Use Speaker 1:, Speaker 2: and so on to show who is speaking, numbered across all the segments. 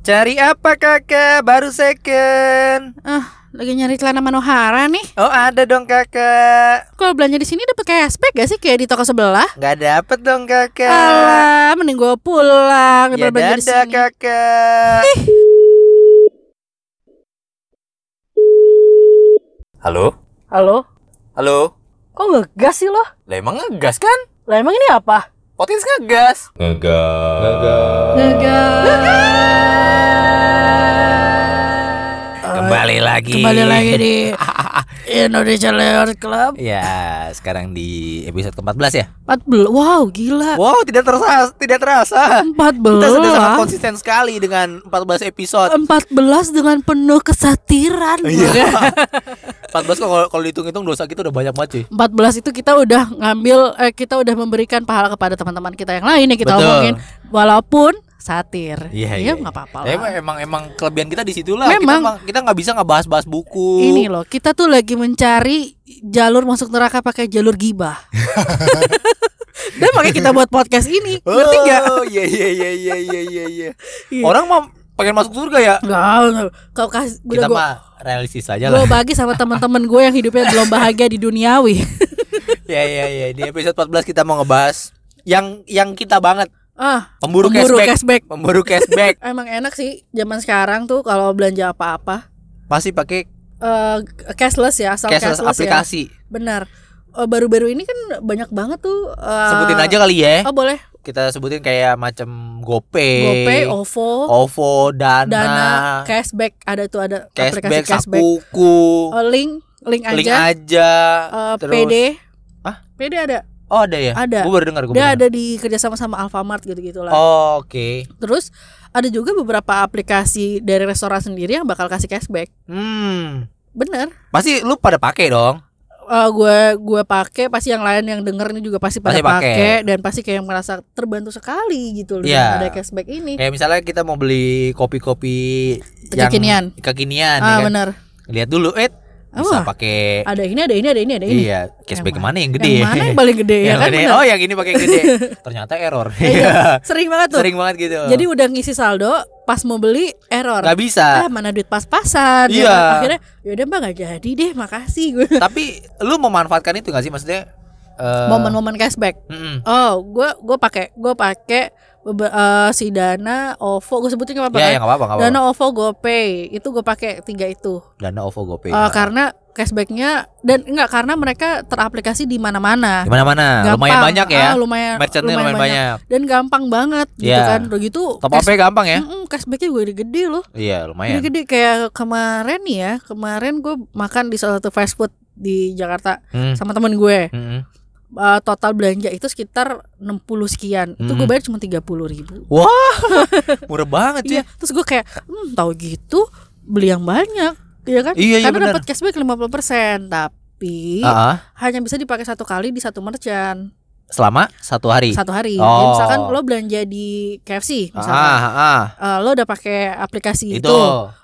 Speaker 1: Cari apa kakak? Baru second.
Speaker 2: Lagi nyari celana Manohara nih.
Speaker 1: Oh ada dong kakak.
Speaker 2: Kalau belanja di sini dapat cashback gak sih kayak di toko sebelah?
Speaker 1: Nggak dapet dong kakak.
Speaker 2: Alah, mending gue pulang
Speaker 1: ya
Speaker 2: daripada belanja di
Speaker 1: dadah
Speaker 2: sini.
Speaker 1: kakak.
Speaker 3: Halo?
Speaker 4: Halo?
Speaker 3: Halo?
Speaker 4: Kok ngegas sih lo?
Speaker 3: Lah emang ngegas kan?
Speaker 4: Lah emang ini apa?
Speaker 3: Potins ngegas. Oh, Kembali lagi.
Speaker 2: Eh, iya. Kembali lagi di Indonesia Layer Club
Speaker 3: Ya, sekarang di episode ke-14 ya.
Speaker 2: 14. Wow, gila.
Speaker 1: Wow tidak terasa, tidak terasa.
Speaker 2: 14.
Speaker 1: Kita sudah sangat konsisten sekali dengan 14 episode.
Speaker 2: 14 dengan penuh kesatiran.
Speaker 1: Iya. 14 kok kalau- kalau dihitung-hitung dosa kita udah banyak banget cuy.
Speaker 2: 14 itu kita udah ngambil eh, kita udah memberikan pahala kepada teman-teman kita yang lain yang kita
Speaker 3: Betul.
Speaker 2: omongin walaupun satir.
Speaker 1: Iya,
Speaker 2: ya nggak apa-apa. lah.
Speaker 1: Emang, emang emang kelebihan kita di situlah. Kita
Speaker 2: Memang.
Speaker 1: emang kita nggak bisa nggak bahas-bahas buku.
Speaker 2: Ini loh, kita tuh lagi mencari jalur masuk neraka pakai jalur gibah. Dan makanya kita buat podcast ini, ngerti nggak?
Speaker 1: Oh, Iya iya iya iya iya iya, iya.
Speaker 2: Iya.
Speaker 1: Orang mau pengen masuk surga ya.
Speaker 2: Nggak, nggak. kau kasih
Speaker 3: Kita
Speaker 2: udah gue
Speaker 3: mah realistis aja lah.
Speaker 2: gue bagi sama teman-teman gue yang hidupnya belum bahagia di duniawi.
Speaker 1: Ya ya ya di episode 14 kita mau ngebahas yang yang kita banget
Speaker 2: ah,
Speaker 1: pemburu,
Speaker 2: pemburu
Speaker 1: cashback.
Speaker 2: cashback.
Speaker 1: Pemburu cashback
Speaker 2: Emang enak sih zaman sekarang tuh kalau belanja apa-apa
Speaker 1: masih pakai
Speaker 2: eh, cashless ya, asal
Speaker 1: cashless
Speaker 2: cashless, ya.
Speaker 1: aplikasi.
Speaker 2: Benar. Eh, Baru-baru ini kan banyak banget tuh. eh,
Speaker 1: Sebutin aja kali ya.
Speaker 2: Oh boleh.
Speaker 1: Kita sebutin kayak macam GoPay,
Speaker 2: GoPay, OVO,
Speaker 1: OVO, Dana,
Speaker 2: Oh, Dana, cashback ada tuh ada aplikasi
Speaker 1: cashback,
Speaker 2: cashback.
Speaker 1: Sakuku,
Speaker 2: Oh, link link
Speaker 1: Link
Speaker 2: aja.
Speaker 1: aja.
Speaker 2: Eh,
Speaker 1: terus-
Speaker 2: PD.
Speaker 1: Hah?
Speaker 2: PD ada.
Speaker 1: Oh ada ya?
Speaker 2: Ada.
Speaker 1: Gue baru dengar gue.
Speaker 2: Dia
Speaker 1: baru dengar.
Speaker 2: ada di kerjasama sama Alfamart gitu-gitu lah.
Speaker 1: Oh, Oke.
Speaker 2: Terus ada juga beberapa aplikasi dari restoran sendiri yang bakal kasih cashback.
Speaker 1: Hmm.
Speaker 2: Bener.
Speaker 1: Pasti lu pada pakai dong.
Speaker 2: Eh, gue gue pakai pasti yang lain yang denger ini juga pasti pada
Speaker 1: Pasti pakai.
Speaker 2: pakai dan pasti kayak merasa terbantu sekali gitu loh
Speaker 1: Iya.
Speaker 2: dengan ada cashback ini.
Speaker 1: Kayak misalnya kita mau beli kopi-kopi yang
Speaker 2: Kekinian.
Speaker 1: Kekinian ya
Speaker 2: Ah
Speaker 1: kan?
Speaker 2: bener.
Speaker 1: Lihat dulu, eh bisa
Speaker 2: Wah,
Speaker 1: pakai
Speaker 2: ada ini ada ini ada ini ada ini.
Speaker 1: iya cashback
Speaker 2: Yang
Speaker 1: yang mana yang gede?
Speaker 2: Yang mana yang paling gede ya
Speaker 1: Yang
Speaker 2: kan?
Speaker 1: gede.
Speaker 2: bener.
Speaker 1: Oh, yang ini pakai yang gede. Ternyata error.
Speaker 2: Iya.
Speaker 1: Iya.
Speaker 2: Sering banget tuh.
Speaker 1: Sering banget gitu.
Speaker 2: Jadi udah ngisi saldo, pas mau beli error.
Speaker 1: nggak bisa.
Speaker 2: ah mana duit pas-pasan ya
Speaker 1: Iya.
Speaker 2: kan? akhirnya yaudah mbak gak jadi deh makasih gue
Speaker 1: Tapi lu memanfaatkan itu gak sih maksudnya? eh,
Speaker 2: momen-momen cashback
Speaker 1: mm-mm.
Speaker 2: oh gue gue pakai gue pakai bebe- eh, si dana ovo gue sebutin nggak
Speaker 1: Ya,
Speaker 2: apa-apa kan?
Speaker 1: yang apa-apa, nggak apa-apa.
Speaker 2: dana ovo gopay itu gue pakai tiga itu
Speaker 1: Dana OVO GoPay.
Speaker 2: Eh, karena cashbacknya dan enggak karena mereka teraplikasi di mana-mana
Speaker 1: Gimana mana? Lumayan
Speaker 2: Gampang.
Speaker 1: banyak ya.
Speaker 2: Ah, lumayan
Speaker 1: Merchantnya lumayan, banyak.
Speaker 2: dan gampang banget gitu
Speaker 1: Iya.
Speaker 2: kan udah gitu
Speaker 1: Top up-nya gampang ya?
Speaker 2: Mm-mm, cashbacknya gue gede loh
Speaker 1: Iya, lumayan.
Speaker 2: Gede-gede kayak kemarin nih ya, kemarin gue makan di salah satu fast food di Jakarta
Speaker 1: Hmm.
Speaker 2: sama temen gue.
Speaker 1: Mm-mm.
Speaker 2: Eh, total belanja itu sekitar 60 sekian. Itu gue
Speaker 1: Mm.
Speaker 2: bayar cuma 30 ribu.
Speaker 1: Murah banget cuy.
Speaker 2: Iya, terus gue kayak, hmm, tahu gitu beli yang banyak, iya kan?
Speaker 1: Iya, iya,
Speaker 2: Karena
Speaker 1: benar.
Speaker 2: dapat cashback 50% tapi
Speaker 1: Ah, ah.
Speaker 2: hanya bisa dipakai satu kali di satu merchant
Speaker 1: selama satu hari.
Speaker 2: satu hari.
Speaker 1: Oh.
Speaker 2: Jadi misalkan lo belanja di KFC, misalkan
Speaker 1: Ah, ah,
Speaker 2: eh, lo udah pakai aplikasi
Speaker 1: itu.
Speaker 2: itu,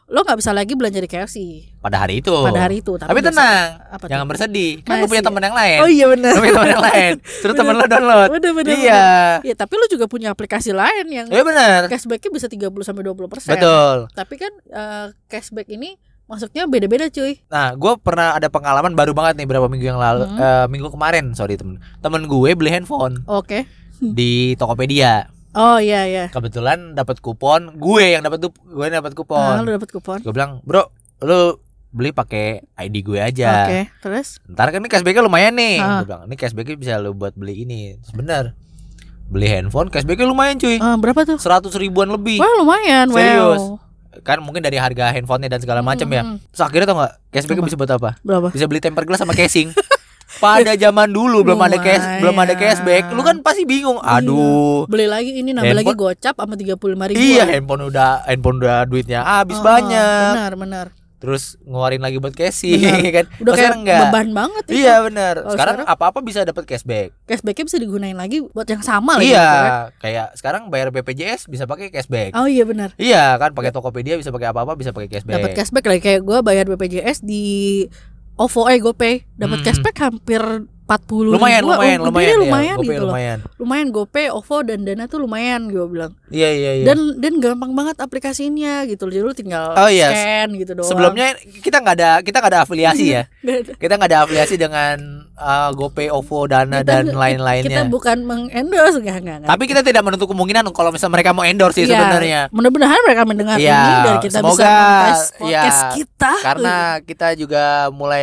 Speaker 2: lo nggak bisa lagi belanja di KFC
Speaker 1: pada hari itu.
Speaker 2: pada hari
Speaker 1: Oh.
Speaker 2: itu.
Speaker 1: Tapi
Speaker 2: besok-
Speaker 1: tenang,
Speaker 2: apa tuh?
Speaker 1: jangan bersedih. Kan gue
Speaker 2: Masih
Speaker 1: punya
Speaker 2: ya?
Speaker 1: teman yang lain.
Speaker 2: Oh iya benar.
Speaker 1: Gue punya teman yang lain. Terus temen lo download.
Speaker 2: Bener bener.
Speaker 1: iya.
Speaker 2: bener. Ya, tapi lu juga punya aplikasi lain yang
Speaker 1: Iya benar.
Speaker 2: cashbacknya bisa 30 sampai 20 persen.
Speaker 1: Betul.
Speaker 2: Tapi kan eh, cashback ini masuknya beda-beda cuy.
Speaker 1: Nah, gue pernah ada pengalaman baru banget nih berapa minggu yang lalu,
Speaker 2: Hmm.
Speaker 1: eh, minggu kemarin, sorry temen. Temen gue beli handphone
Speaker 2: Oke.
Speaker 1: di Tokopedia.
Speaker 2: Oh iya iya.
Speaker 1: Kebetulan dapat kupon, gue yang dapat tuh, gue yang dapat
Speaker 2: Ah, lu
Speaker 1: kupon.
Speaker 2: dapat kupon.
Speaker 1: Gue bilang, bro, lu beli pakai ID gue
Speaker 2: Oke.
Speaker 1: aja.
Speaker 2: Terus?
Speaker 1: Ntar kan ini cashbacknya lumayan nih
Speaker 2: Ah.
Speaker 1: Gua bilang ini cashbacknya bisa lo buat beli ini Terus bener Beli handphone cashbacknya lumayan cuy
Speaker 2: Ah, berapa tuh?
Speaker 1: 100 ribuan lebih
Speaker 2: Wah lumayan.
Speaker 1: Serius.
Speaker 2: Wow.
Speaker 1: Kan mungkin dari harga handphonenya dan segala macam ya
Speaker 2: Mm, mm, mm.
Speaker 1: Terus akhirnya tau gak Cashbacknya
Speaker 2: Apa?
Speaker 1: bisa buat apa?
Speaker 2: Berapa?
Speaker 1: Bisa beli temper glass sama casing Pada zaman dulu belum
Speaker 2: Oh
Speaker 1: ada cash
Speaker 2: Lumayan.
Speaker 1: belum ada cashback Lu kan pasti bingung Aduh
Speaker 2: Beli lagi ini nambah lagi
Speaker 1: Oh. Handphone-
Speaker 2: gocap sama 35 ribu. Ah,
Speaker 1: Iya handphone udah handphone udah duitnya
Speaker 2: Oh,
Speaker 1: habis banyak
Speaker 2: Benar benar.
Speaker 1: Terus ngeluarin lagi buat casing
Speaker 2: Benar.
Speaker 1: kan
Speaker 2: Udah
Speaker 1: Kalau
Speaker 2: kayak
Speaker 1: sekarang enggak.
Speaker 2: beban banget itu.
Speaker 1: Iya bener
Speaker 2: Kalau
Speaker 1: Sekarang
Speaker 2: sekarang-
Speaker 1: apa-apa bisa dapat cashback
Speaker 2: Cashbacknya bisa digunain lagi buat yang sama lagi.
Speaker 1: Iya,
Speaker 2: gitu kan.
Speaker 1: kayak sekarang bayar BPJS bisa pakai cashback.
Speaker 2: Oh iya benar.
Speaker 1: Iya kan pakai Tokopedia bisa pakai apa-apa bisa pakai cashback.
Speaker 2: dapat cashback lagi kayak gue bayar BPJS di OVO eh GoPay dapat
Speaker 1: Hmm.
Speaker 2: cashback hampir 40
Speaker 1: lumayan
Speaker 2: ribu,
Speaker 1: lumayan
Speaker 2: oh,
Speaker 1: lumayan
Speaker 2: gedenya
Speaker 1: ya,
Speaker 2: lumayan
Speaker 1: GoPay
Speaker 2: gitu loh
Speaker 1: lumayan
Speaker 2: lumayan GoPay, OVO dan Dana tuh lumayan gue bilang
Speaker 1: iya iya iya
Speaker 2: dan dan gampang banget aplikasinya gitu loh jadi lu tinggal
Speaker 1: Oh, iya.
Speaker 2: scan gitu doang
Speaker 1: sebelumnya kita nggak ada kita nggak ada afiliasi ya
Speaker 2: Nggak ada.
Speaker 1: kita nggak ada afiliasi dengan uh, GoPay, OVO, Dana
Speaker 2: Kita-
Speaker 1: dan
Speaker 2: kita
Speaker 1: lain-lainnya
Speaker 2: bukan mengendorse enggak enggak enggak
Speaker 1: tapi kita tidak menutup kemungkinan kalau misal mereka mau endorse sih
Speaker 2: Iya,
Speaker 1: sebenarnya
Speaker 2: mudah-mudahan mereka mendengar
Speaker 1: Iya,
Speaker 2: ini dan kita bisa
Speaker 1: semoga,
Speaker 2: monetize podcast
Speaker 1: iya,
Speaker 2: kita
Speaker 1: karena kita juga mulai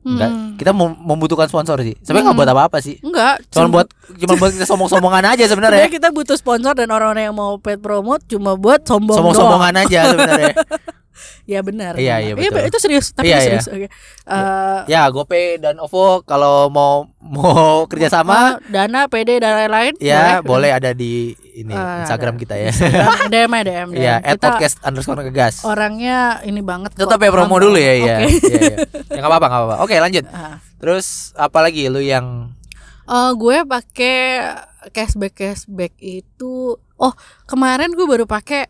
Speaker 2: Hmm.
Speaker 1: Nggak, kita mem- membutuhkan sponsor sih sebenarnya nggak
Speaker 2: Hmm.
Speaker 1: buat apa-apa sih
Speaker 2: enggak
Speaker 1: cuma buat cuma buat kita sombong-sombongan aja
Speaker 2: sebenarnya
Speaker 1: sebenarnya
Speaker 2: kita butuh sponsor dan orang-orang yang mau paid promote cuma buat sombong doang
Speaker 1: sombong-sombongan aja sebenarnya
Speaker 2: ya benar
Speaker 1: Iya, iya, betul.
Speaker 2: itu serius tapi
Speaker 1: Iya,
Speaker 2: itu
Speaker 1: iya.
Speaker 2: serius oke Eh,
Speaker 1: ya GoPay dan OVO kalau mau mau kerjasama
Speaker 2: eh, dana PD dan lain-lain
Speaker 1: ya boleh ada di ini
Speaker 2: Ah,
Speaker 1: Instagram
Speaker 2: ada.
Speaker 1: kita ya
Speaker 2: Instagram, DM ya DM
Speaker 1: ya at
Speaker 2: kita
Speaker 1: podcast underscore ngegas
Speaker 2: orangnya ini banget kok.
Speaker 1: tetap ya promo
Speaker 2: Paham.
Speaker 1: dulu ya ya
Speaker 2: Oke.
Speaker 1: ya, ya. Ya, nggak apa-apa nggak apa-apa oke lanjut
Speaker 2: Ah.
Speaker 1: terus apalagi lu yang
Speaker 2: Eh, gue pakai cashback cashback itu oh kemarin gue baru pakai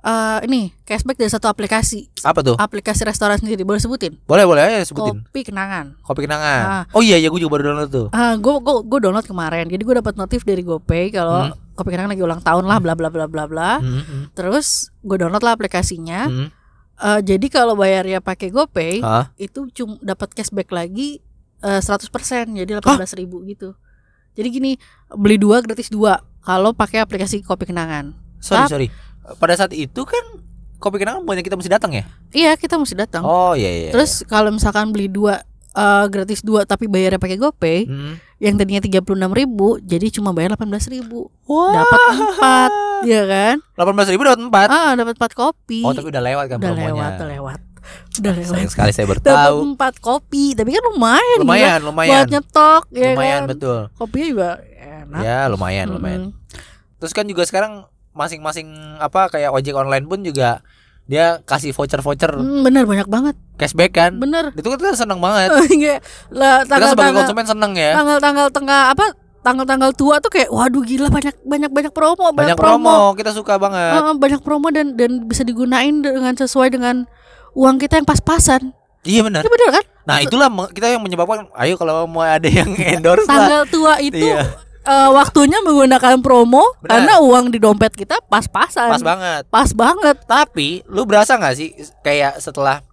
Speaker 2: eh ini cashback dari satu aplikasi
Speaker 1: apa tuh
Speaker 2: aplikasi restoran sendiri boleh sebutin
Speaker 1: boleh boleh ayo Oh. sebutin
Speaker 2: kopi kenangan
Speaker 1: kopi kenangan oh iya iya gue juga baru download tuh
Speaker 2: Ah, gue gue gue download kemarin jadi gue dapat notif dari GoPay kalau kopi kenangan lagi ulang tahun lah bla bla bla bla bla
Speaker 1: Hmm, hmm,
Speaker 2: terus gue download lah aplikasinya
Speaker 1: hmm.
Speaker 2: Eh, jadi kalau bayarnya pakai GoPay
Speaker 1: Hah?
Speaker 2: itu cuma dapat cashback lagi eh, 100% jadi 18.000 gitu. Jadi gini, beli dua gratis dua kalau pakai aplikasi Kopi Kenangan.
Speaker 1: sorry
Speaker 2: Tap.
Speaker 1: sorry pada saat itu kan kopi kenangan banyak kita mesti datang ya
Speaker 2: Iya, kita mesti datang.
Speaker 1: oh iya iya
Speaker 2: Terus kalau misalkan beli dua eh, gratis dua tapi bayarnya pakai GoPay,
Speaker 1: Hmm.
Speaker 2: yang tadinya 36.000 jadi cuma bayar 18.000. Dapat empat, ya kan?
Speaker 1: delapan belas ribu dapat empat
Speaker 2: Ah, dapat empat kopi.
Speaker 1: oh tapi udah lewat kan
Speaker 2: udah
Speaker 1: promonya
Speaker 2: lewat, udah lewat. Udah lewat.
Speaker 1: sayang sekali saya baru
Speaker 2: Dapat
Speaker 1: tahu
Speaker 2: empat kopi, tapi kan lumayan gila.
Speaker 1: lumayan
Speaker 2: buat
Speaker 1: lumayan
Speaker 2: nyetok ya
Speaker 1: lumayan
Speaker 2: kan.
Speaker 1: betul
Speaker 2: Kopinya juga enak.
Speaker 1: ya lumayan lumayan
Speaker 2: Mm-mm.
Speaker 1: terus kan juga sekarang masing-masing apa kayak ojek online pun juga dia kasih voucher voucher
Speaker 2: Hmm, bener banyak banget.
Speaker 1: cashback kan
Speaker 2: Bener.
Speaker 1: itu kan kita seneng banget
Speaker 2: Kayak lah
Speaker 1: kita sebagai
Speaker 2: tanggal-tanggal
Speaker 1: konsumen seneng ya
Speaker 2: tanggal-tanggal tengah apa tanggal-tanggal tua tuh kayak waduh gila banyak banyak banyak promo,
Speaker 1: banyak
Speaker 2: banyak, promo.
Speaker 1: promo kita suka banget
Speaker 2: Ah, banyak promo dan dan bisa digunain dengan sesuai dengan uang kita yang pas-pasan.
Speaker 1: iya benar
Speaker 2: Ini bener kan?
Speaker 1: nah itulah me- kita yang menyebabkan ayo kalau mau ada yang endorse lah
Speaker 2: Tanggal tua itu
Speaker 1: iya
Speaker 2: eh, waktunya menggunakan promo
Speaker 1: Bener.
Speaker 2: karena uang di dompet kita pas-pasan.
Speaker 1: pas banget
Speaker 2: Pas banget.
Speaker 1: tapi lu berasa nggak sih kayak setelah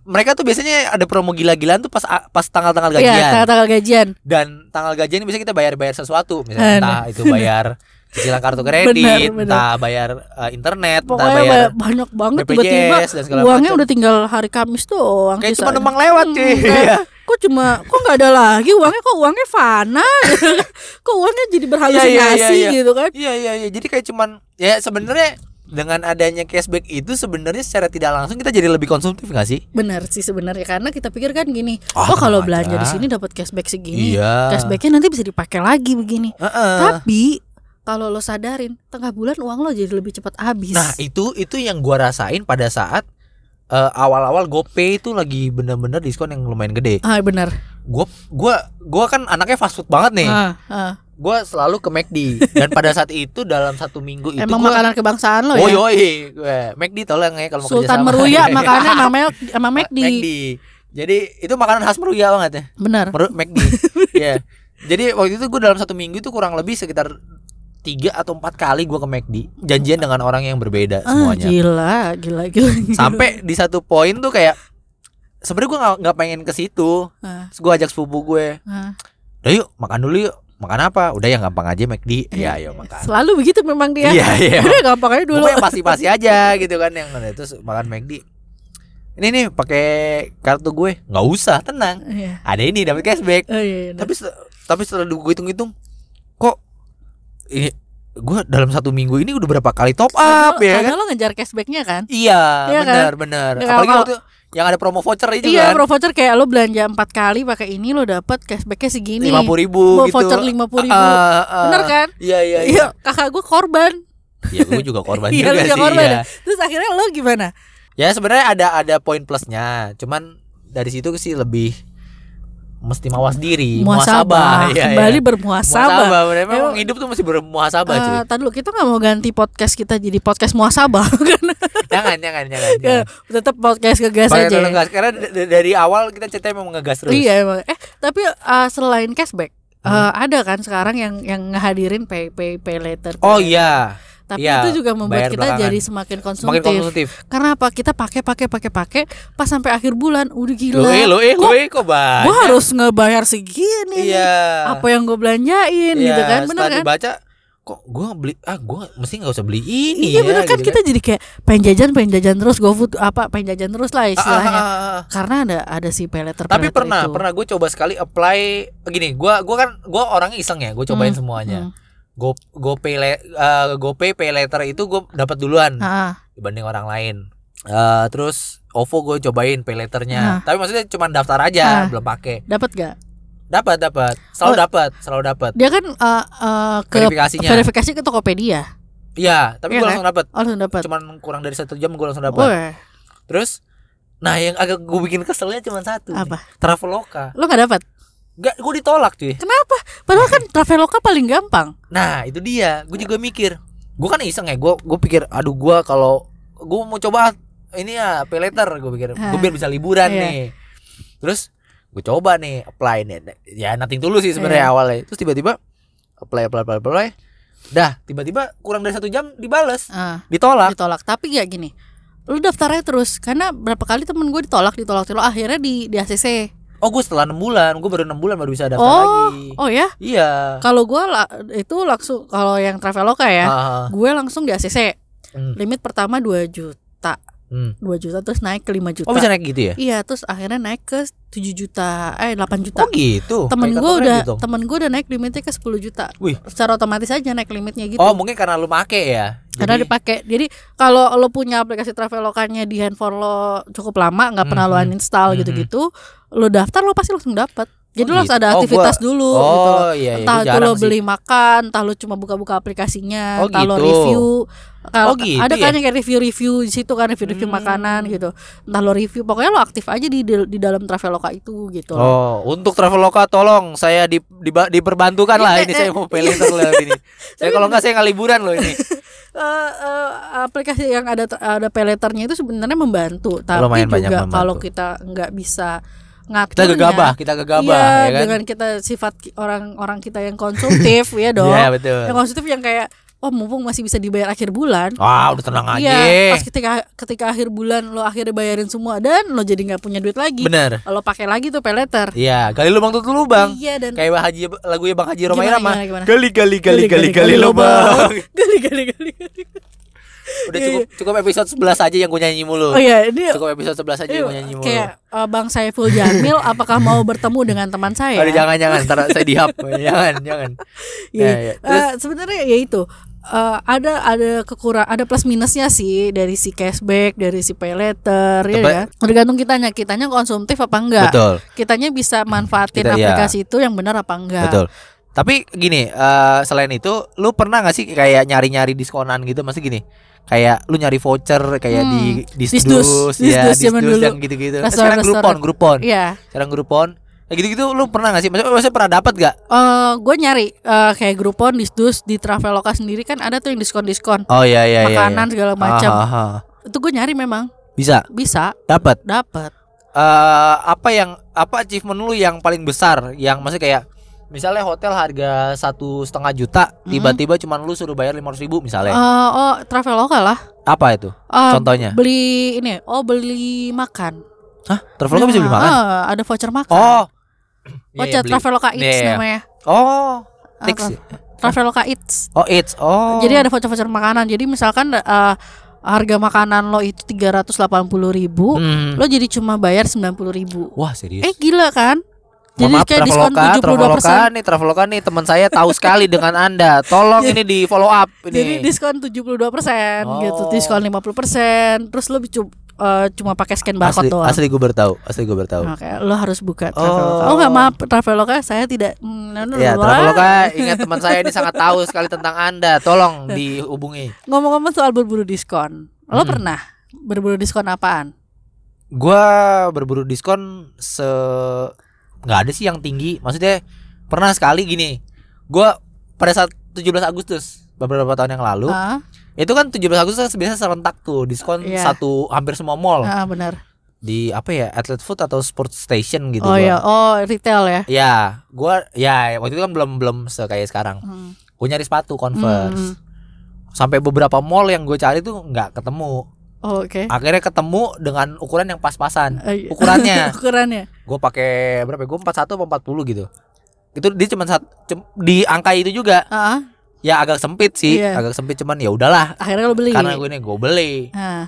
Speaker 1: mereka tuh biasanya ada promo gila-gilaan tuh pas pas tanggal-tanggal gajian
Speaker 2: Iya, tanggal-tanggal gajian.
Speaker 1: dan tanggal gajian bisa kita bayar-bayar sesuatu misalnya
Speaker 2: Aduh.
Speaker 1: entah itu bayar cicilan kartu kredit
Speaker 2: Benar, benar.
Speaker 1: entah bayar eh, internet entah
Speaker 2: Pokoknya
Speaker 1: bayar
Speaker 2: ba- banyak banget
Speaker 1: BPJS
Speaker 2: tiba-tiba
Speaker 1: dan segala
Speaker 2: uangnya
Speaker 1: macam.
Speaker 2: udah tinggal hari Kamis doang.
Speaker 1: kayak cuma
Speaker 2: sisanya.
Speaker 1: numpang lewat cuy Iya.
Speaker 2: Hmm, kayak, kok cuma kok nggak ada lagi uangnya kok uangnya fana kok uangnya jadi berhalusinasi
Speaker 1: Iya, iya, iya, iya.
Speaker 2: gitu kan
Speaker 1: iya iya iya jadi kayak cuman ya sebenarnya dengan adanya cashback itu sebenarnya secara tidak langsung kita jadi lebih konsumtif nggak sih
Speaker 2: benar sih sebenarnya karena kita pikir kan gini
Speaker 1: Ah,
Speaker 2: oh kalau
Speaker 1: tenang
Speaker 2: belanja
Speaker 1: aja.
Speaker 2: di sini dapat cashback segini
Speaker 1: iya
Speaker 2: cashbacknya nanti bisa dipakai lagi begini
Speaker 1: Heeh.
Speaker 2: tapi kalau lo sadarin tengah bulan uang lo jadi lebih cepat habis
Speaker 1: nah itu itu yang gua rasain pada saat eh, awal-awal GoPay itu lagi bener-bener diskon yang lumayan gede.
Speaker 2: ah benar
Speaker 1: Gua gua gua kan anaknya fast food banget nih.
Speaker 2: Ah, ah.
Speaker 1: Gua selalu ke McD dan pada saat itu dalam satu minggu itu
Speaker 2: emang
Speaker 1: gua-
Speaker 2: makanan kebangsaan lo
Speaker 1: Oh
Speaker 2: ya
Speaker 1: yoi, gue McD tolong ya kalau mau
Speaker 2: Sultan
Speaker 1: kerjasama.
Speaker 2: Meruya makannya sama Mel sama
Speaker 1: McD.
Speaker 2: McD
Speaker 1: Jadi itu makanan khas Meruya banget ya.
Speaker 2: benar
Speaker 1: Meru McD. Iya. Jadi waktu itu gue dalam satu minggu itu kurang lebih sekitar tiga atau empat kali gue ke McD janjian dengan orang yang berbeda
Speaker 2: ah,
Speaker 1: semuanya
Speaker 2: gila gila gila, gila.
Speaker 1: sampai di satu poin tuh kayak sebenarnya gue nggak nggak pengen ke situ
Speaker 2: Ah,
Speaker 1: Terus gue ajak sepupu gue
Speaker 2: ah.
Speaker 1: udah yuk makan dulu yuk makan apa udah yang gampang aja McD ya ayo makan
Speaker 2: eh. selalu begitu memang dia
Speaker 1: iya iya
Speaker 2: Udah gampang aja Iya. dulu.
Speaker 1: Pokoknya yang pasti-pasti aja gitu kan yang terus makan McD. Ini nih pakai kartu gue. nggak usah, tenang.
Speaker 2: Iya.
Speaker 1: Ada ini dapat cashback.
Speaker 2: Oh, iya, iya.
Speaker 1: Tapi se- tapi setelah gue hitung-hitung kok ini gue dalam satu minggu ini udah berapa kali top
Speaker 2: Karena
Speaker 1: up
Speaker 2: lo-
Speaker 1: ya
Speaker 2: karena
Speaker 1: kan?
Speaker 2: lo ngejar cashbacknya kan?
Speaker 1: Iya,
Speaker 2: Iya kan?
Speaker 1: benar benar.
Speaker 2: Nggak,
Speaker 1: Apalagi
Speaker 2: kalau-
Speaker 1: waktu yang ada promo voucher itu
Speaker 2: Iya,
Speaker 1: kan.
Speaker 2: pro voucher kayak lo belanja empat kali pakai ini lo dapat cashbacknya segini.
Speaker 1: Lima puluh ribu
Speaker 2: Bawa
Speaker 1: gitu.
Speaker 2: Voucher lima puluh ribu.
Speaker 1: Ah, ah,
Speaker 2: Bener kan?
Speaker 1: Iya iya iya.
Speaker 2: Iya, kakak gue korban.
Speaker 1: Iya, gue juga korban
Speaker 2: Iya, lu
Speaker 1: juga
Speaker 2: juga
Speaker 1: sih.
Speaker 2: korban
Speaker 1: iya.
Speaker 2: ya? Terus akhirnya lo gimana?
Speaker 1: Ya sebenarnya ada ada poin plusnya, cuman dari situ sih lebih mesti mawas diri,
Speaker 2: Muasabah.
Speaker 1: Iya,
Speaker 2: Kembali
Speaker 1: iya.
Speaker 2: bermuasabah.
Speaker 1: Muasabah, bener. memang
Speaker 2: Emang-
Speaker 1: hidup tuh mesti bermuasabah cuy.
Speaker 2: Eh, tar dulu kita nggak mau ganti podcast kita jadi podcast muasabah karena
Speaker 1: jangan jangan jangan, jangan.
Speaker 2: Tetap podcast ngegas
Speaker 1: Iya. Pakai
Speaker 2: aja. ya.
Speaker 1: tolong gas karena d- d- dari awal kita ceritanya memang ngegas terus. Hmm.
Speaker 2: Iya emang. Eh tapi eh, selain cashback eh, ada kan sekarang yang yang ngehadirin pay pay pay later. pay
Speaker 1: Oh
Speaker 2: later.
Speaker 1: iya,
Speaker 2: Tapi
Speaker 1: iya,
Speaker 2: itu juga membuat
Speaker 1: bayar
Speaker 2: kita
Speaker 1: belakangan.
Speaker 2: jadi semakin
Speaker 1: makin
Speaker 2: konsumtif.
Speaker 1: konsumtif.
Speaker 2: Karena apa? Kita pakai pakai pakai pakai pas sampai akhir bulan udah gila.
Speaker 1: Lo eh lo eh lo
Speaker 2: Gua-
Speaker 1: eh kok banyak.
Speaker 2: Gua harus ngebayar segini. nih.
Speaker 1: Iya.
Speaker 2: Apa yang gue belanjain gitu kan? Bener
Speaker 1: setelah
Speaker 2: kan?
Speaker 1: dibaca kok gua beli ah gua mesti nggak usah beli ini
Speaker 2: Iya
Speaker 1: ya,
Speaker 2: bener kan
Speaker 1: gitu
Speaker 2: kita jadi kayak pengen jajan pengen jajan terus GoFood apa pengen jajan terus
Speaker 1: Ah,
Speaker 2: lah
Speaker 1: ah, ah,
Speaker 2: istilahnya.
Speaker 1: ah, ah.
Speaker 2: Karena ada ada si pay later. pay
Speaker 1: Tapi
Speaker 2: later
Speaker 1: pernah,
Speaker 2: itu.
Speaker 1: pernah gue coba sekali apply gini, gua gua kan gua orangnya iseng ya, gue cobain
Speaker 2: Hmm,
Speaker 1: semuanya.
Speaker 2: Hmm.
Speaker 1: Go GoPay le- eh, GoPay pay later itu gue dapat duluan
Speaker 2: Ah,
Speaker 1: dibanding orang lain. Eh, terus OVO gue cobain pay
Speaker 2: Ah.
Speaker 1: laternya. Tapi maksudnya cuma daftar aja,
Speaker 2: Ah.
Speaker 1: belum pakai.
Speaker 2: dapat gak?
Speaker 1: Dapat, dapat. Selalu
Speaker 2: Oh.
Speaker 1: dapat, selalu dapat.
Speaker 2: Dia kan eh, eh, ke
Speaker 1: Verifikasinya.
Speaker 2: verifikasi ke Tokopedia.
Speaker 1: Iya, tapi
Speaker 2: Iya
Speaker 1: gue
Speaker 2: kan?
Speaker 1: langsung dapat.
Speaker 2: Oh, langsung dapat.
Speaker 1: Cuman kurang dari satu jam gue langsung dapat.
Speaker 2: Wah,
Speaker 1: Terus nah yang agak gue bikin keselnya cuma satu. nih,
Speaker 2: apa?
Speaker 1: Traveloka.
Speaker 2: Lo nggak dapat?
Speaker 1: Gak, gue ditolak cuy.
Speaker 2: Kenapa? Padahal kan Traveloka paling gampang.
Speaker 1: Nah itu dia Gue juga mikir Gue kan iseng ya Gue gue pikir Aduh gue kalau Gue mau coba Ini ya pay later Gue pikir
Speaker 2: Ah.
Speaker 1: Gue biar bisa liburan
Speaker 2: Iya.
Speaker 1: nih Terus Gue coba nih Apply nih Ya nothing dulu sih sebenarnya
Speaker 2: Iya.
Speaker 1: awalnya Terus tiba-tiba Apply apply apply apply Dah tiba-tiba Kurang dari satu jam Dibales
Speaker 2: Ah,
Speaker 1: Ditolak
Speaker 2: ditolak. Tapi ya gini, lo daftarnya terus karena berapa kali temen gue ditolak ditolak ditolak akhirnya di di ACC
Speaker 1: Oh gue setelah 6 bulan Gue baru 6 bulan Baru bisa daftar lagi
Speaker 2: oh ya
Speaker 1: Iya
Speaker 2: kalau gue la- itu langsung kalau yang traveloka ya
Speaker 1: Ah,
Speaker 2: gue langsung di ACC
Speaker 1: Hmm.
Speaker 2: limit pertama 2 juta
Speaker 1: hmm.
Speaker 2: 2 juta terus naik ke 5 juta
Speaker 1: Oh bisa naik gitu ya
Speaker 2: iya terus akhirnya naik ke 7 juta eh 8 juta
Speaker 1: Oh gitu
Speaker 2: temen
Speaker 1: Kayak
Speaker 2: gue
Speaker 1: kartu
Speaker 2: udah
Speaker 1: kredit dong.
Speaker 2: temen gue udah naik limitnya ke 10 juta
Speaker 1: Wih.
Speaker 2: secara otomatis aja naik limitnya gitu
Speaker 1: Oh mungkin karena lu make ya
Speaker 2: karena
Speaker 1: Jadi-
Speaker 2: dipakai jadi kalau lo punya aplikasi travelokannya di handphone lo cukup lama nggak pernah lo
Speaker 1: Mhm.
Speaker 2: uninstall
Speaker 1: Mhm.
Speaker 2: gitu-gitu lo daftar lo pasti langsung dapat jadi
Speaker 1: Oh,
Speaker 2: lo harus
Speaker 1: gitu.
Speaker 2: ada
Speaker 1: Oh,
Speaker 2: aktivitas dulu gitu loh.
Speaker 1: Oh iya, iya. Gua
Speaker 2: entah itu lo
Speaker 1: jarang sih.
Speaker 2: beli makan entah lo cuma buka-buka aplikasinya
Speaker 1: Oh,
Speaker 2: entah lo
Speaker 1: gitu.
Speaker 2: review kalau
Speaker 1: Oh, gitu
Speaker 2: ada kan
Speaker 1: ya?
Speaker 2: yang kayak review-review di situ kan review-review
Speaker 1: Hmm.
Speaker 2: makanan gitu entah lo review pokoknya lo aktif aja di di, di dalam traveloka itu gitu loh.
Speaker 1: Oh, untuk Traveloka tolong saya di, di- diperbantukan lah
Speaker 2: Iya,
Speaker 1: ini
Speaker 2: eh,
Speaker 1: saya mau pay later lah ini. Saya kalau nggak saya nggak liburan loh ini.
Speaker 2: Eh, eh, aplikasi yang ada ada peleternya itu sebenarnya membantu tapi
Speaker 1: Lumayan banyak
Speaker 2: juga
Speaker 1: membantu.
Speaker 2: kalau kita nggak bisa
Speaker 1: Kita
Speaker 2: ngaturnya
Speaker 1: gegabah, kita gegabah
Speaker 2: iya,
Speaker 1: ya kan.
Speaker 2: dengan kita sifat ki- orang-orang kita yang konsumtif ya dong
Speaker 1: Iya, betul.
Speaker 2: yang konsumtif yang kayak oh mumpung masih bisa dibayar akhir bulan
Speaker 1: Wah, udah tenang aja.
Speaker 2: Iya, pas ketika ketika akhir bulan lo akhirnya bayarin semua dan lo jadi nggak punya duit lagi,
Speaker 1: Bener.
Speaker 2: lo pakai lagi tuh peleter.
Speaker 1: Iya, gali lubang tutup lubang.
Speaker 2: Iya dan
Speaker 1: Kayak Bang Haji lagunya Bang Haji Roma
Speaker 2: Gimana,
Speaker 1: Irama.
Speaker 2: gimana, gimana?
Speaker 1: Gali gali gali gali gali lubang.
Speaker 2: gali gali gali. gali.
Speaker 1: Udah
Speaker 2: Iya,
Speaker 1: cukup cukup episode 11 aja yang gue nyanyi mulu.
Speaker 2: Oh iya, ini
Speaker 1: Cukup episode 11 aja yang gue nyanyi mulu.
Speaker 2: kayak eh, Bang Saiful Jamil apakah mau bertemu dengan teman saya?
Speaker 1: Aduh, jangan jangan, ntar saya dihap. jangan, jangan.
Speaker 2: Iya.
Speaker 1: Ya, ya. Terus
Speaker 2: Eh, sebenarnya ya itu eh, ada ada kekurang ada plus minusnya sih dari si cashback dari si pay later ya,
Speaker 1: Teba-
Speaker 2: ya. tergantung kitanya kitanya konsumtif apa enggak
Speaker 1: betul.
Speaker 2: kitanya bisa manfaatin
Speaker 1: Kita- iya.
Speaker 2: aplikasi itu yang benar apa enggak
Speaker 1: Betul. Tapi gini, eh selain itu, lu pernah gak sih kayak nyari-nyari diskonan gitu? Maksudnya gini, kayak lu nyari voucher kayak
Speaker 2: Hmm,
Speaker 1: di
Speaker 2: Disdus,
Speaker 1: disdus,
Speaker 2: Disdus
Speaker 1: ya,
Speaker 2: zaman dulu.
Speaker 1: yang gitu-gitu. Eh, Sekarang
Speaker 2: Restoran-
Speaker 1: Groupon,
Speaker 2: restoran.
Speaker 1: Groupon.
Speaker 2: Iya,
Speaker 1: Sekarang Groupon. Kayak gitu-gitu lu pernah gak sih? Maksudnya, maksudnya pernah dapat gak?
Speaker 2: Eh, gue nyari eh, kayak Groupon, Disdus di Traveloka sendiri kan ada tuh yang diskon-diskon
Speaker 1: Oh iya iya
Speaker 2: makanan segala macam.
Speaker 1: Ah, ah, ah.
Speaker 2: Itu gue nyari memang
Speaker 1: Bisa
Speaker 2: bisa
Speaker 1: dapat.
Speaker 2: dapat.
Speaker 1: Eh apa yang apa achievement lu yang paling besar yang maksudnya kayak misalnya hotel harga satu setengah juta
Speaker 2: Mm.
Speaker 1: tiba-tiba cuman lu suruh bayar lima ribu misalnya
Speaker 2: Eh, oh Traveloka lah.
Speaker 1: apa itu
Speaker 2: Eh,
Speaker 1: contohnya
Speaker 2: beli ini, oh beli makan.
Speaker 1: Hah? traveloka bisa beli
Speaker 2: Nah,
Speaker 1: makan
Speaker 2: eh, ada voucher makan.
Speaker 1: Oh.
Speaker 2: Oh,
Speaker 1: Iya, iya, beli.
Speaker 2: Traveloka Eats
Speaker 1: Iya, iya.
Speaker 2: namanya.
Speaker 1: Oh,
Speaker 2: Ah,
Speaker 1: Tix.
Speaker 2: Tra- Traveloka Eats.
Speaker 1: Oh, it's. Oh.
Speaker 2: Jadi ada voucher-voucher makanan. Jadi misalkan eh, harga makanan lo itu 380.000,
Speaker 1: Hmm.
Speaker 2: lo jadi cuma bayar 90.000.
Speaker 1: Wah, serius.
Speaker 2: Eh gila kan?
Speaker 1: Mohon
Speaker 2: Jadi
Speaker 1: maaf,
Speaker 2: kayak diskon
Speaker 1: Traveloka,
Speaker 2: 72%.
Speaker 1: Traveloka nih, Traveloka nih teman saya tahu sekali dengan Anda. Tolong ini di follow up ini.
Speaker 2: Jadi diskon 72% gitu,
Speaker 1: Oh.
Speaker 2: diskon 50%, terus lo cu- eh, cuma pakai scan
Speaker 1: asli,
Speaker 2: barcode doang.
Speaker 1: asli gue bertahu, asli gue bertahu.
Speaker 2: Oke, lo harus buka
Speaker 1: Oh.
Speaker 2: Traveloka. Oh, enggak maaf, Traveloka saya tidak mm, no, no,
Speaker 1: Ya,
Speaker 2: no.
Speaker 1: Traveloka ingat teman saya ini sangat tahu sekali tentang Anda. Tolong dihubungi.
Speaker 2: Ngomong-ngomong soal berburu diskon. Lo
Speaker 1: Hmm.
Speaker 2: pernah berburu diskon apaan?
Speaker 1: Gua berburu diskon se nggak ada sih yang tinggi. Maksudnya pernah sekali gini. Gua pada saat 17 Agustus beberapa tahun yang lalu
Speaker 2: Hah?
Speaker 1: Itu kan 17 Agustus kan biasanya serentak tuh diskon
Speaker 2: Iya.
Speaker 1: satu hampir semua mall
Speaker 2: Ah, benar.
Speaker 1: di apa ya Atlet Food atau Sport Station gitu
Speaker 2: oh
Speaker 1: gua.
Speaker 2: ya, oh retail ya.
Speaker 1: Ya, gua ya waktu itu kan belum belum sekaya sekarang.
Speaker 2: Hmm.
Speaker 1: Gua nyari sepatu Converse.
Speaker 2: Hmm.
Speaker 1: Sampai beberapa mall yang gue cari tuh nggak ketemu.
Speaker 2: Oh, Oke.
Speaker 1: Akhirnya ketemu dengan ukuran yang pas-pasan.
Speaker 2: Eh, iya.
Speaker 1: Ah, Ukurannya.
Speaker 2: Ukurannya.
Speaker 1: Gue pakai berapa? ya? Gue 41 apa 40 gitu. Itu dia cuma sat, cem- di angka itu juga.
Speaker 2: Ah,
Speaker 1: Ya agak sempit sih,
Speaker 2: Iya.
Speaker 1: agak sempit cuman ya udahlah.
Speaker 2: akhirnya lo beli.
Speaker 1: Karena gue ini gue beli,
Speaker 2: Ah,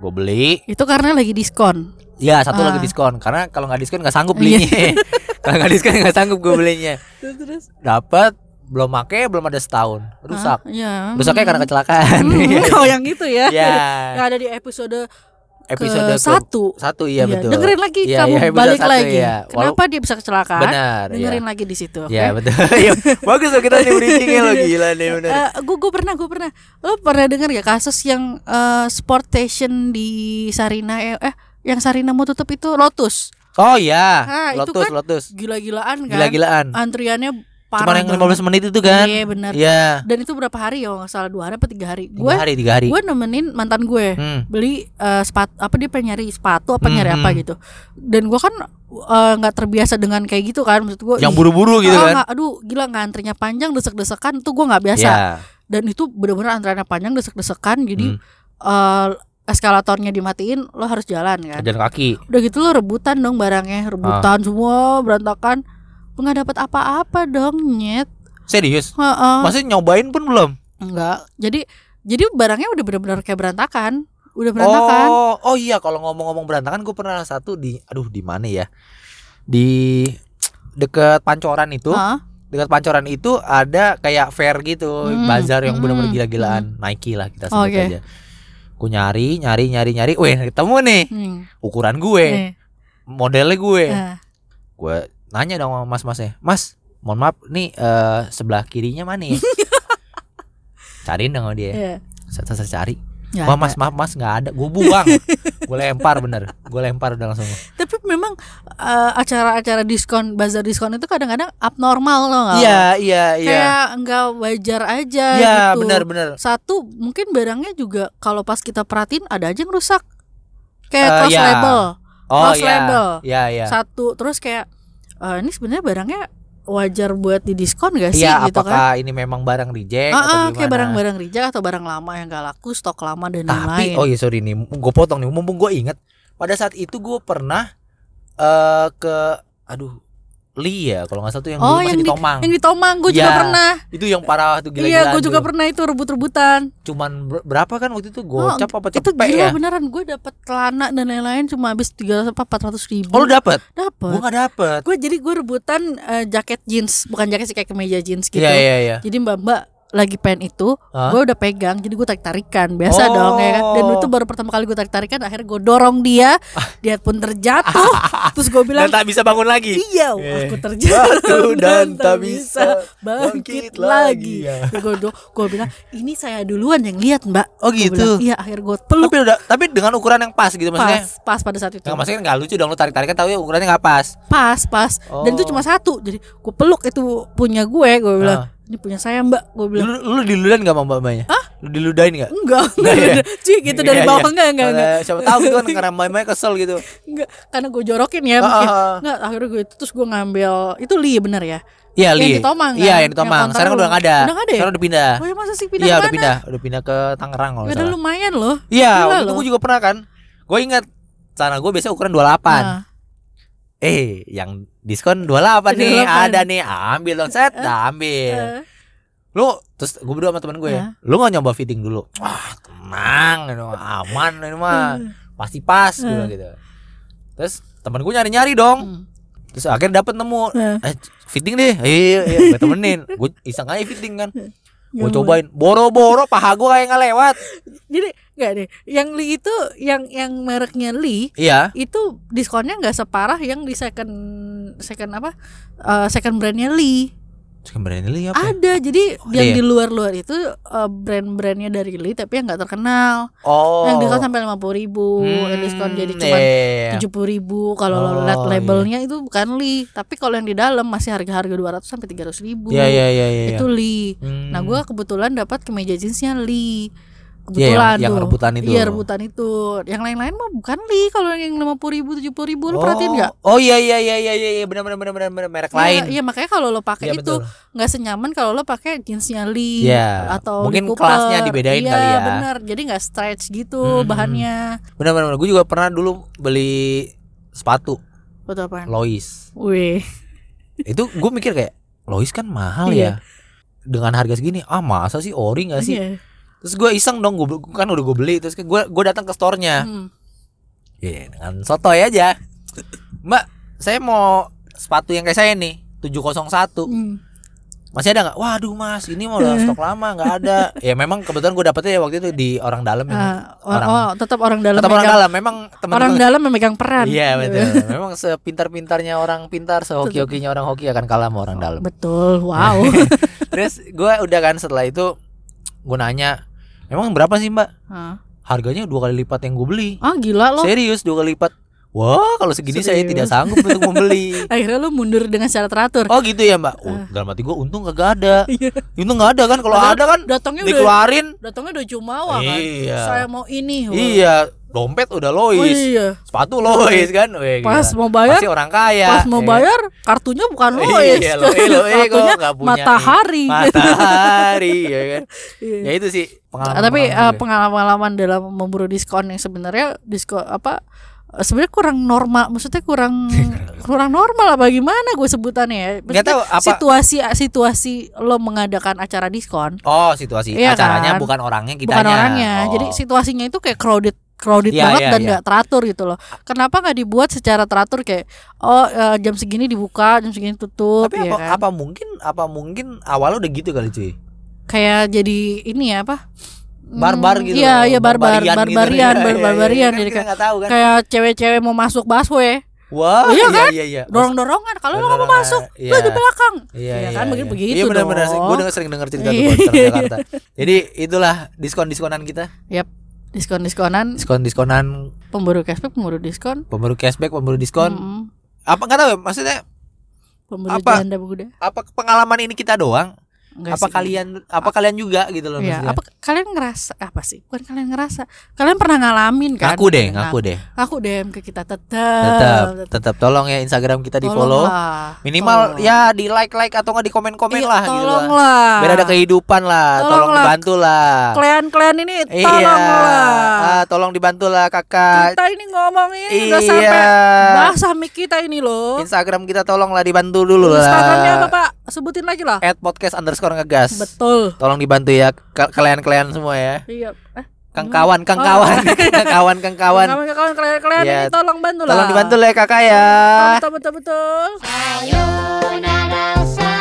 Speaker 1: gue beli.
Speaker 2: itu karena lagi diskon.
Speaker 1: Ya satu
Speaker 2: Ah. Iya.
Speaker 1: lagi diskon. Karena kalau nggak diskon nggak sanggup belinya. kalau nggak diskon nggak sanggup gue belinya.
Speaker 2: Terus terus.
Speaker 1: Dapat belum make belum ada setahun rusak.
Speaker 2: Iya.
Speaker 1: Rusaknya karena kecelakaan.
Speaker 2: Hmm, kalau yang itu ya.
Speaker 1: ya
Speaker 2: Yang ada di episode,
Speaker 1: episode
Speaker 2: ke satu.
Speaker 1: ke- satu iya betul.
Speaker 2: Dengerin lagi
Speaker 1: Iya,
Speaker 2: kamu
Speaker 1: iya, episode
Speaker 2: balik
Speaker 1: satu,
Speaker 2: lagi.
Speaker 1: iya.
Speaker 2: Kenapa dia bisa kecelakaan?
Speaker 1: Benar. Iya.
Speaker 2: Dengerin lagi di situ. oke?
Speaker 1: Ya betul. Ya, bagus loh kita di briefingnya lo gila nih bener.
Speaker 2: gue gue Eh, pernah gue pernah lo pernah dengar gak kasus yang eh, sport station di Sarina eh, eh, yang Sarina mau tutup itu Lotus
Speaker 1: Oh iya,
Speaker 2: Ah, itu
Speaker 1: Lotus
Speaker 2: kan
Speaker 1: Lotus.
Speaker 2: gila-gilaan kan
Speaker 1: Gila-gilaan.
Speaker 2: antriannya
Speaker 1: Cuman
Speaker 2: parah
Speaker 1: yang 15 menit itu kan.
Speaker 2: Iya, benar.
Speaker 1: Iya.
Speaker 2: dan itu berapa hari ya kalau nggak salah dua hari apa tiga hari
Speaker 1: Tiga
Speaker 2: gue
Speaker 1: hari, tiga hari.
Speaker 2: gue nemenin mantan gue
Speaker 1: Hmm.
Speaker 2: beli sepatu apa dia pengen nyari sepatu apa nyari
Speaker 1: Mhm.
Speaker 2: apa gitu dan gue kan eh, nggak terbiasa dengan kayak gitu kan maksud gue
Speaker 1: Yang
Speaker 2: ih,
Speaker 1: buru-buru gitu
Speaker 2: ah,
Speaker 1: kan.
Speaker 2: nggak- aduh gila ngantrinya panjang desek-desekan tuh gue nggak biasa
Speaker 1: Iya.
Speaker 2: dan itu benar-benar antreannya panjang desek-desekan jadi
Speaker 1: Hmm.
Speaker 2: eh, eskalatornya dimatiin lo harus jalan kan
Speaker 1: Jalan kaki.
Speaker 2: udah gitu lo rebutan dong barangnya
Speaker 1: Ah.
Speaker 2: rebutan semua berantakan nggak dapat apa-apa dong nyet
Speaker 1: Serius?
Speaker 2: Heeh.
Speaker 1: Maksudnya nyobain pun belum?
Speaker 2: enggak jadi jadi barangnya udah benar-benar kayak berantakan udah berantakan
Speaker 1: Oh, oh iya kalau ngomong-ngomong berantakan gue pernah satu di aduh di mana ya? Di dekat pancoran itu,
Speaker 2: Heeh.
Speaker 1: dekat pancoran itu ada kayak fair gitu,
Speaker 2: Hmm,
Speaker 1: bazar yang benar-benar
Speaker 2: hmm,
Speaker 1: gila-gilaan, Nike lah kita sebut
Speaker 2: Oke.
Speaker 1: aja. Gue nyari, nyari, nyari, nyari. Weh, ketemu nih
Speaker 2: Hmm.
Speaker 1: ukuran gue,
Speaker 2: Nih.
Speaker 1: modelnya gue.
Speaker 2: Eh.
Speaker 1: Gue nanya dong sama mas-masnya, Mas, mohon maaf nih eh, sebelah kirinya mana ya? Cariin dong sama dia.
Speaker 2: Iya.
Speaker 1: Saya saya- saya cari.
Speaker 2: Nggak
Speaker 1: Wah
Speaker 2: ada.
Speaker 1: mas maaf mas nggak ada, gue buang, gue lempar bener, gue lempar udah langsung.
Speaker 2: Tapi memang eh, acara-acara diskon, bazar diskon itu kadang-kadang abnormal loh nggak?
Speaker 1: Iya iya iya.
Speaker 2: Kayak nggak wajar aja
Speaker 1: Iya
Speaker 2: gitu.
Speaker 1: bener bener.
Speaker 2: Satu mungkin barangnya juga kalau pas kita perhatiin ada aja yang rusak. Kayak
Speaker 1: Eh,
Speaker 2: cross
Speaker 1: iya.
Speaker 2: label,
Speaker 1: Oh
Speaker 2: Cross label.
Speaker 1: iya iya iya.
Speaker 2: satu terus kayak eh, ini sebenarnya barangnya wajar buat didiskon gak sih
Speaker 1: Iya
Speaker 2: gitu kan?
Speaker 1: apakah ini memang barang reject
Speaker 2: Ah,
Speaker 1: atau
Speaker 2: ah,
Speaker 1: gimana?
Speaker 2: kayak barang-barang reject atau barang lama yang gak laku, stok lama
Speaker 1: Tapi
Speaker 2: dan lain-lain.
Speaker 1: oh iya sorry nih, gue potong nih, mumpung gue inget. Pada saat itu gue pernah eh ke aduh Li ya kalau nggak salah tuh yang dulu
Speaker 2: Oh,
Speaker 1: masih
Speaker 2: yang
Speaker 1: di Tomang.
Speaker 2: Yang di Tomang gue juga
Speaker 1: Iya,
Speaker 2: pernah.
Speaker 1: Itu yang parah tuh gila-gilaan.
Speaker 2: Iya, gue juga
Speaker 1: tuh.
Speaker 2: pernah itu rebut-rebutan.
Speaker 1: Cuman ber- berapa kan waktu itu gocap apa
Speaker 2: Oh, itu
Speaker 1: cepet ya?
Speaker 2: gila beneran gue dapet celana dan lain-lain cuma habis tiga ratus empat ratus ribu
Speaker 1: Oh lu dapet? Gue
Speaker 2: dapet
Speaker 1: nggak dapet.
Speaker 2: gue jadi gue rebutan eh, jaket jeans bukan jaket sih kayak kemeja jeans gitu
Speaker 1: Iya iya iya.
Speaker 2: jadi mbak mbak lagi pengen itu
Speaker 1: Hah?
Speaker 2: gue udah pegang jadi gue tarik tarikan
Speaker 1: Oh.
Speaker 2: biasa dong ya kan dan itu baru pertama kali gue tarik tarikan akhirnya gue dorong dia dia pun terjatuh terus gue bilang
Speaker 1: Dan tak bisa bangun lagi.
Speaker 2: iya
Speaker 1: Eh.
Speaker 2: aku terjatuh dan tak bisa
Speaker 1: bangkit
Speaker 2: bangkit lagi
Speaker 1: lagi, ya.
Speaker 2: gue gue bilang ini saya duluan yang lihat mbak
Speaker 1: Oh
Speaker 2: Gua
Speaker 1: gitu.
Speaker 2: bilang, iya akhir gue peluk
Speaker 1: Tapi udah tapi dengan ukuran yang pas gitu
Speaker 2: pas
Speaker 1: maksudnya.
Speaker 2: pas pada saat itu
Speaker 1: Nggak maksudnya kan nggak lucu dong lu tarik-tarikan tapi ukurannya nggak pas.
Speaker 2: pas pas dan
Speaker 1: Oh.
Speaker 2: itu cuma satu jadi gue peluk itu punya gue gue
Speaker 1: Ah.
Speaker 2: bilang ini punya saya mbak gue bilang
Speaker 1: Lu, lu diludain nggak sama mbak-mbaknya? Lu diludain nggak?
Speaker 2: enggak
Speaker 1: Enggak
Speaker 2: enggak
Speaker 1: ya?
Speaker 2: enggak. cuy gitu dari
Speaker 1: Iya, iya.
Speaker 2: bawah enggak enggak enggak
Speaker 1: Eh, Siapa tahu gitu kan karena mbak-mbaknya kesel gitu.
Speaker 2: enggak karena gue jorokin ya
Speaker 1: Ah,
Speaker 2: mungkin
Speaker 1: ah, ah.
Speaker 2: enggak akhirnya gue itu terus gue ngambil itu li bener ya
Speaker 1: Iya,
Speaker 2: Yang
Speaker 1: Li.
Speaker 2: di Tomang,
Speaker 1: Iya,
Speaker 2: kan?
Speaker 1: yang di Tomang.
Speaker 2: Yang
Speaker 1: Sekarang
Speaker 2: konter
Speaker 1: udah nggak ada.
Speaker 2: Udah nggak ada ya?
Speaker 1: Sekarang udah pindah.
Speaker 2: oh ya masa sih pindah
Speaker 1: Iya,
Speaker 2: kemana?
Speaker 1: udah pindah. Udah pindah ke Tangerang kalau
Speaker 2: Ya
Speaker 1: nggak
Speaker 2: udah
Speaker 1: salah.
Speaker 2: lumayan loh
Speaker 1: Iya,
Speaker 2: Gila
Speaker 1: waktu itu
Speaker 2: loh.
Speaker 1: gue juga pernah kan. Gue ingat sana gue biasa ukuran 28.
Speaker 2: Nah,
Speaker 1: Eh, yang diskon 28 nih
Speaker 2: 28.
Speaker 1: ada nih. Ambil dong set, dah ambil.
Speaker 2: eh,
Speaker 1: lu terus gue berdua sama temen gue
Speaker 2: Hah?
Speaker 1: lu nggak nyoba fitting dulu ah tenang ini mah, aman ini mah
Speaker 2: Eh.
Speaker 1: pasti pas gue bilang gitu terus temen gue nyari nyari dong
Speaker 2: hmm.
Speaker 1: terus akhirnya dapet nemu
Speaker 2: Hah?
Speaker 1: eh, fitting deh iya iya gue temenin gue iseng aja fitting kan
Speaker 2: Ya
Speaker 1: gue
Speaker 2: Nggak
Speaker 1: cobain boro boro paha gue kayak nggak lewat
Speaker 2: boleh. jadi enggak deh yang li itu yang yang mereknya li
Speaker 1: iya
Speaker 2: itu diskonnya nggak separah yang di second second apa Eh, second brandnya Lee
Speaker 1: sebenarnya ini apa ya?
Speaker 2: ada jadi
Speaker 1: Oh,
Speaker 2: yang
Speaker 1: iya.
Speaker 2: di luar-luar itu eh, brand-brandnya dari Lee tapi yang nggak terkenal
Speaker 1: oh
Speaker 2: Ah, yang diskon sampai lima puluh ribu yang diskon jadi
Speaker 1: Hmm,
Speaker 2: cuma
Speaker 1: iya, iya, iya.
Speaker 2: tujuh puluh ribu kalau
Speaker 1: Oh,
Speaker 2: lo lihat
Speaker 1: iya.
Speaker 2: labelnya itu bukan Lee tapi kalau yang di dalam masih harga-harga dua ratus sampai tiga ratus ribu
Speaker 1: iya iya iya iya
Speaker 2: itu Lee
Speaker 1: Hmm. Iya,
Speaker 2: nah gue kebetulan dapat kemeja jeansnya Lee kebetulan
Speaker 1: yang- yang
Speaker 2: tuh.
Speaker 1: rebutan itu.
Speaker 2: Iya rebutan itu. Yang lain-lain mah bukan li kalau yang lima puluh ribu tujuh puluh ribu lo perhatiin nggak?
Speaker 1: Oh iya iya iya iya iya benar benar benar benar benar merek lain.
Speaker 2: Iya, iya, makanya kalau lo pakai
Speaker 1: Iya, betul.
Speaker 2: itu nggak senyaman kalau lo pakai jeansnya Lee
Speaker 1: Iya,
Speaker 2: atau
Speaker 1: mungkin
Speaker 2: Lee Cooper.
Speaker 1: kelasnya dibedain
Speaker 2: iya,
Speaker 1: kali ya.
Speaker 2: bener. Jadi nggak stretch gitu
Speaker 1: Hmm.
Speaker 2: bahannya.
Speaker 1: Benar benar benar. Gue juga pernah dulu beli sepatu
Speaker 2: Betul apaan?
Speaker 1: Lois.
Speaker 2: Wih,
Speaker 1: itu gue mikir kayak Lois kan mahal ya.
Speaker 2: Iya.
Speaker 1: Dengan harga segini, ah masa sih ori gak sih?
Speaker 2: iya.
Speaker 1: Terus gue iseng dong, gue kan udah gue beli. Terus gue gue datang ke store-nya.
Speaker 2: Hmm.
Speaker 1: Iya, dengan sotoy aja. Mbak, saya mau sepatu yang kayak saya nih, 701.
Speaker 2: Hmm.
Speaker 1: Masih ada nggak? Waduh, Mas, ini mau udah stok lama nggak ada. ya memang kebetulan gue dapetnya waktu itu di orang dalam ya.
Speaker 2: Ah, or-
Speaker 1: orang-
Speaker 2: oh, tetap orang dalam
Speaker 1: Tetap orang
Speaker 2: megang-
Speaker 1: dalam, memang
Speaker 2: orang
Speaker 1: teman-teman.
Speaker 2: dalam memegang peran.
Speaker 1: Iya, betul. memang sepintar-pintarnya orang pintar, sehoki-hokinya orang hoki akan kalah sama orang dalam.
Speaker 2: Betul. Wow.
Speaker 1: Terus gue udah kan setelah itu gue nanya, "Emang berapa sih, Mbak?"
Speaker 2: Hah.
Speaker 1: Harganya dua kali lipat yang gue beli.
Speaker 2: ah gila lo.
Speaker 1: Serius dua kali lipat. Wah, kalau segini saya
Speaker 2: Serius.
Speaker 1: tidak sanggup untuk membeli.
Speaker 2: Akhirnya lo mundur dengan secara teratur.
Speaker 1: Oh gitu ya mbak oh, Dalam hati gue untung kagak ada
Speaker 2: Ah. Iya.
Speaker 1: Untung gak ada kan Kalau
Speaker 2: Padahal
Speaker 1: ada kan
Speaker 2: Datangnya udah
Speaker 1: Dikeluarin
Speaker 2: datangnya udah jumawa kan.
Speaker 1: Iya.
Speaker 2: Saya mau ini.
Speaker 1: Iya Dompet udah
Speaker 2: Oh,
Speaker 1: Lois
Speaker 2: iya.
Speaker 1: Sepatu Lois kan Weh,
Speaker 2: Pas
Speaker 1: gila.
Speaker 2: mau bayar
Speaker 1: Pasti orang kaya
Speaker 2: Pas mau
Speaker 1: ya.
Speaker 2: bayar kartunya bukan Lois.
Speaker 1: Iya Lois Lois kok
Speaker 2: kartunya
Speaker 1: nggak punya
Speaker 2: Matahari.
Speaker 1: Matahari ya kan
Speaker 2: Iya.
Speaker 1: Ya itu sih pengalaman
Speaker 2: Ah, tapi eh,
Speaker 1: pengalaman gue.
Speaker 2: pengalaman dalam memburu diskon yang sebenarnya diskon apa eh, sebenarnya kurang normal maksudnya kurang kurang normal apa gimana gue sebutannya ya
Speaker 1: Nggak tahu
Speaker 2: Maksudnya
Speaker 1: apa-
Speaker 2: situasi situasi lo mengadakan acara diskon
Speaker 1: Oh situasi
Speaker 2: Iya
Speaker 1: Acaranya
Speaker 2: kan?
Speaker 1: bukan orangnya Oh. kita
Speaker 2: bukan orangnya jadi situasinya itu kayak crowded crowded
Speaker 1: Iya,
Speaker 2: banget
Speaker 1: iya,
Speaker 2: dan
Speaker 1: iya.
Speaker 2: nggak teratur gitu loh kenapa nggak dibuat secara teratur kayak oh eh, jam segini dibuka jam segini tutup
Speaker 1: Tapi
Speaker 2: ya
Speaker 1: apa,
Speaker 2: kan?
Speaker 1: apa mungkin Apa mungkin Awalnya udah gitu kali cuy
Speaker 2: kayak jadi ini ya apa Hmm,
Speaker 1: Barbar gitu
Speaker 2: iya iya barbar
Speaker 1: barbarian gitu.
Speaker 2: barbarian
Speaker 1: Iya, iya, iya.
Speaker 2: barbarian
Speaker 1: Kan
Speaker 2: jadi
Speaker 1: kita
Speaker 2: kayak
Speaker 1: nggak tahu kan
Speaker 2: kayak cewek-cewek mau masuk busway
Speaker 1: Wah,
Speaker 2: Iya kan?
Speaker 1: iya, iya.
Speaker 2: dorong-dorongan kalau lo nggak mau
Speaker 1: Beneran,
Speaker 2: masuk
Speaker 1: iya.
Speaker 2: lo di belakang
Speaker 1: Iya,
Speaker 2: Ya kan, mungkin begitu
Speaker 1: Iya benar-benar.
Speaker 2: dong.
Speaker 1: Gue denger sering denger cerita tuh
Speaker 2: Iya.
Speaker 1: kalau di Jakarta. Jadi itulah diskon-diskonan kita.
Speaker 2: diskon-diskonan
Speaker 1: Diskon-diskonan
Speaker 2: pemburu cashback pemburu diskon
Speaker 1: pemburu cashback, pemburu diskon.
Speaker 2: Mm-mm.
Speaker 1: Apa nggak tahu ya, maksudnya
Speaker 2: pemburu
Speaker 1: Apa?
Speaker 2: janda buda
Speaker 1: apa pengalaman ini kita doang?
Speaker 2: Nggak
Speaker 1: apa
Speaker 2: sih.
Speaker 1: kalian apa kalian juga gitu loh
Speaker 2: Iya,
Speaker 1: maksudnya.
Speaker 2: apa kalian ngerasa apa sih? Bukan kalian ngerasa, kalian Eh, pernah ngalamin kan?
Speaker 1: Ngaku deh,
Speaker 2: Nah,
Speaker 1: ngaku deh.
Speaker 2: Aku DM ke kita tetap.
Speaker 1: Tetap, tetap tolong ya Instagram kita di follow.
Speaker 2: Tolonglah,
Speaker 1: Minimal
Speaker 2: tolong.
Speaker 1: ya di like like atau nggak di komen komen
Speaker 2: Iya,
Speaker 1: lah gitu lah.
Speaker 2: Tolonglah.
Speaker 1: Biar ada kehidupan lah. Tolong
Speaker 2: Tolonglah.
Speaker 1: dibantu lah.
Speaker 2: Klien-klien ini
Speaker 1: Iya.
Speaker 2: tolonglah.
Speaker 1: Ah, tolong dibantu lah kakak. Iya.
Speaker 2: Kita ini ngomongin udah sampai bahasa mic kita ini loh.
Speaker 1: Instagram kita tolonglah dibantu dulu lah.
Speaker 2: Instagramnya apa Pak? Sebutin lagi lah.
Speaker 1: At podcast underscore ngegas.
Speaker 2: Betul.
Speaker 1: Tolong dibantu ya ke- kalian-kalian semua ya.
Speaker 2: Iya. Eh,
Speaker 1: Kang kawan, kang kawan, kang kawan, kang kawan.
Speaker 2: kawan-kawan klien-klien
Speaker 1: Iya.
Speaker 2: ini tolong bantu lah.
Speaker 1: Tolong dibantu lah ya kakak ya.
Speaker 2: Betul betul betul.
Speaker 5: Sayonara, sayonara.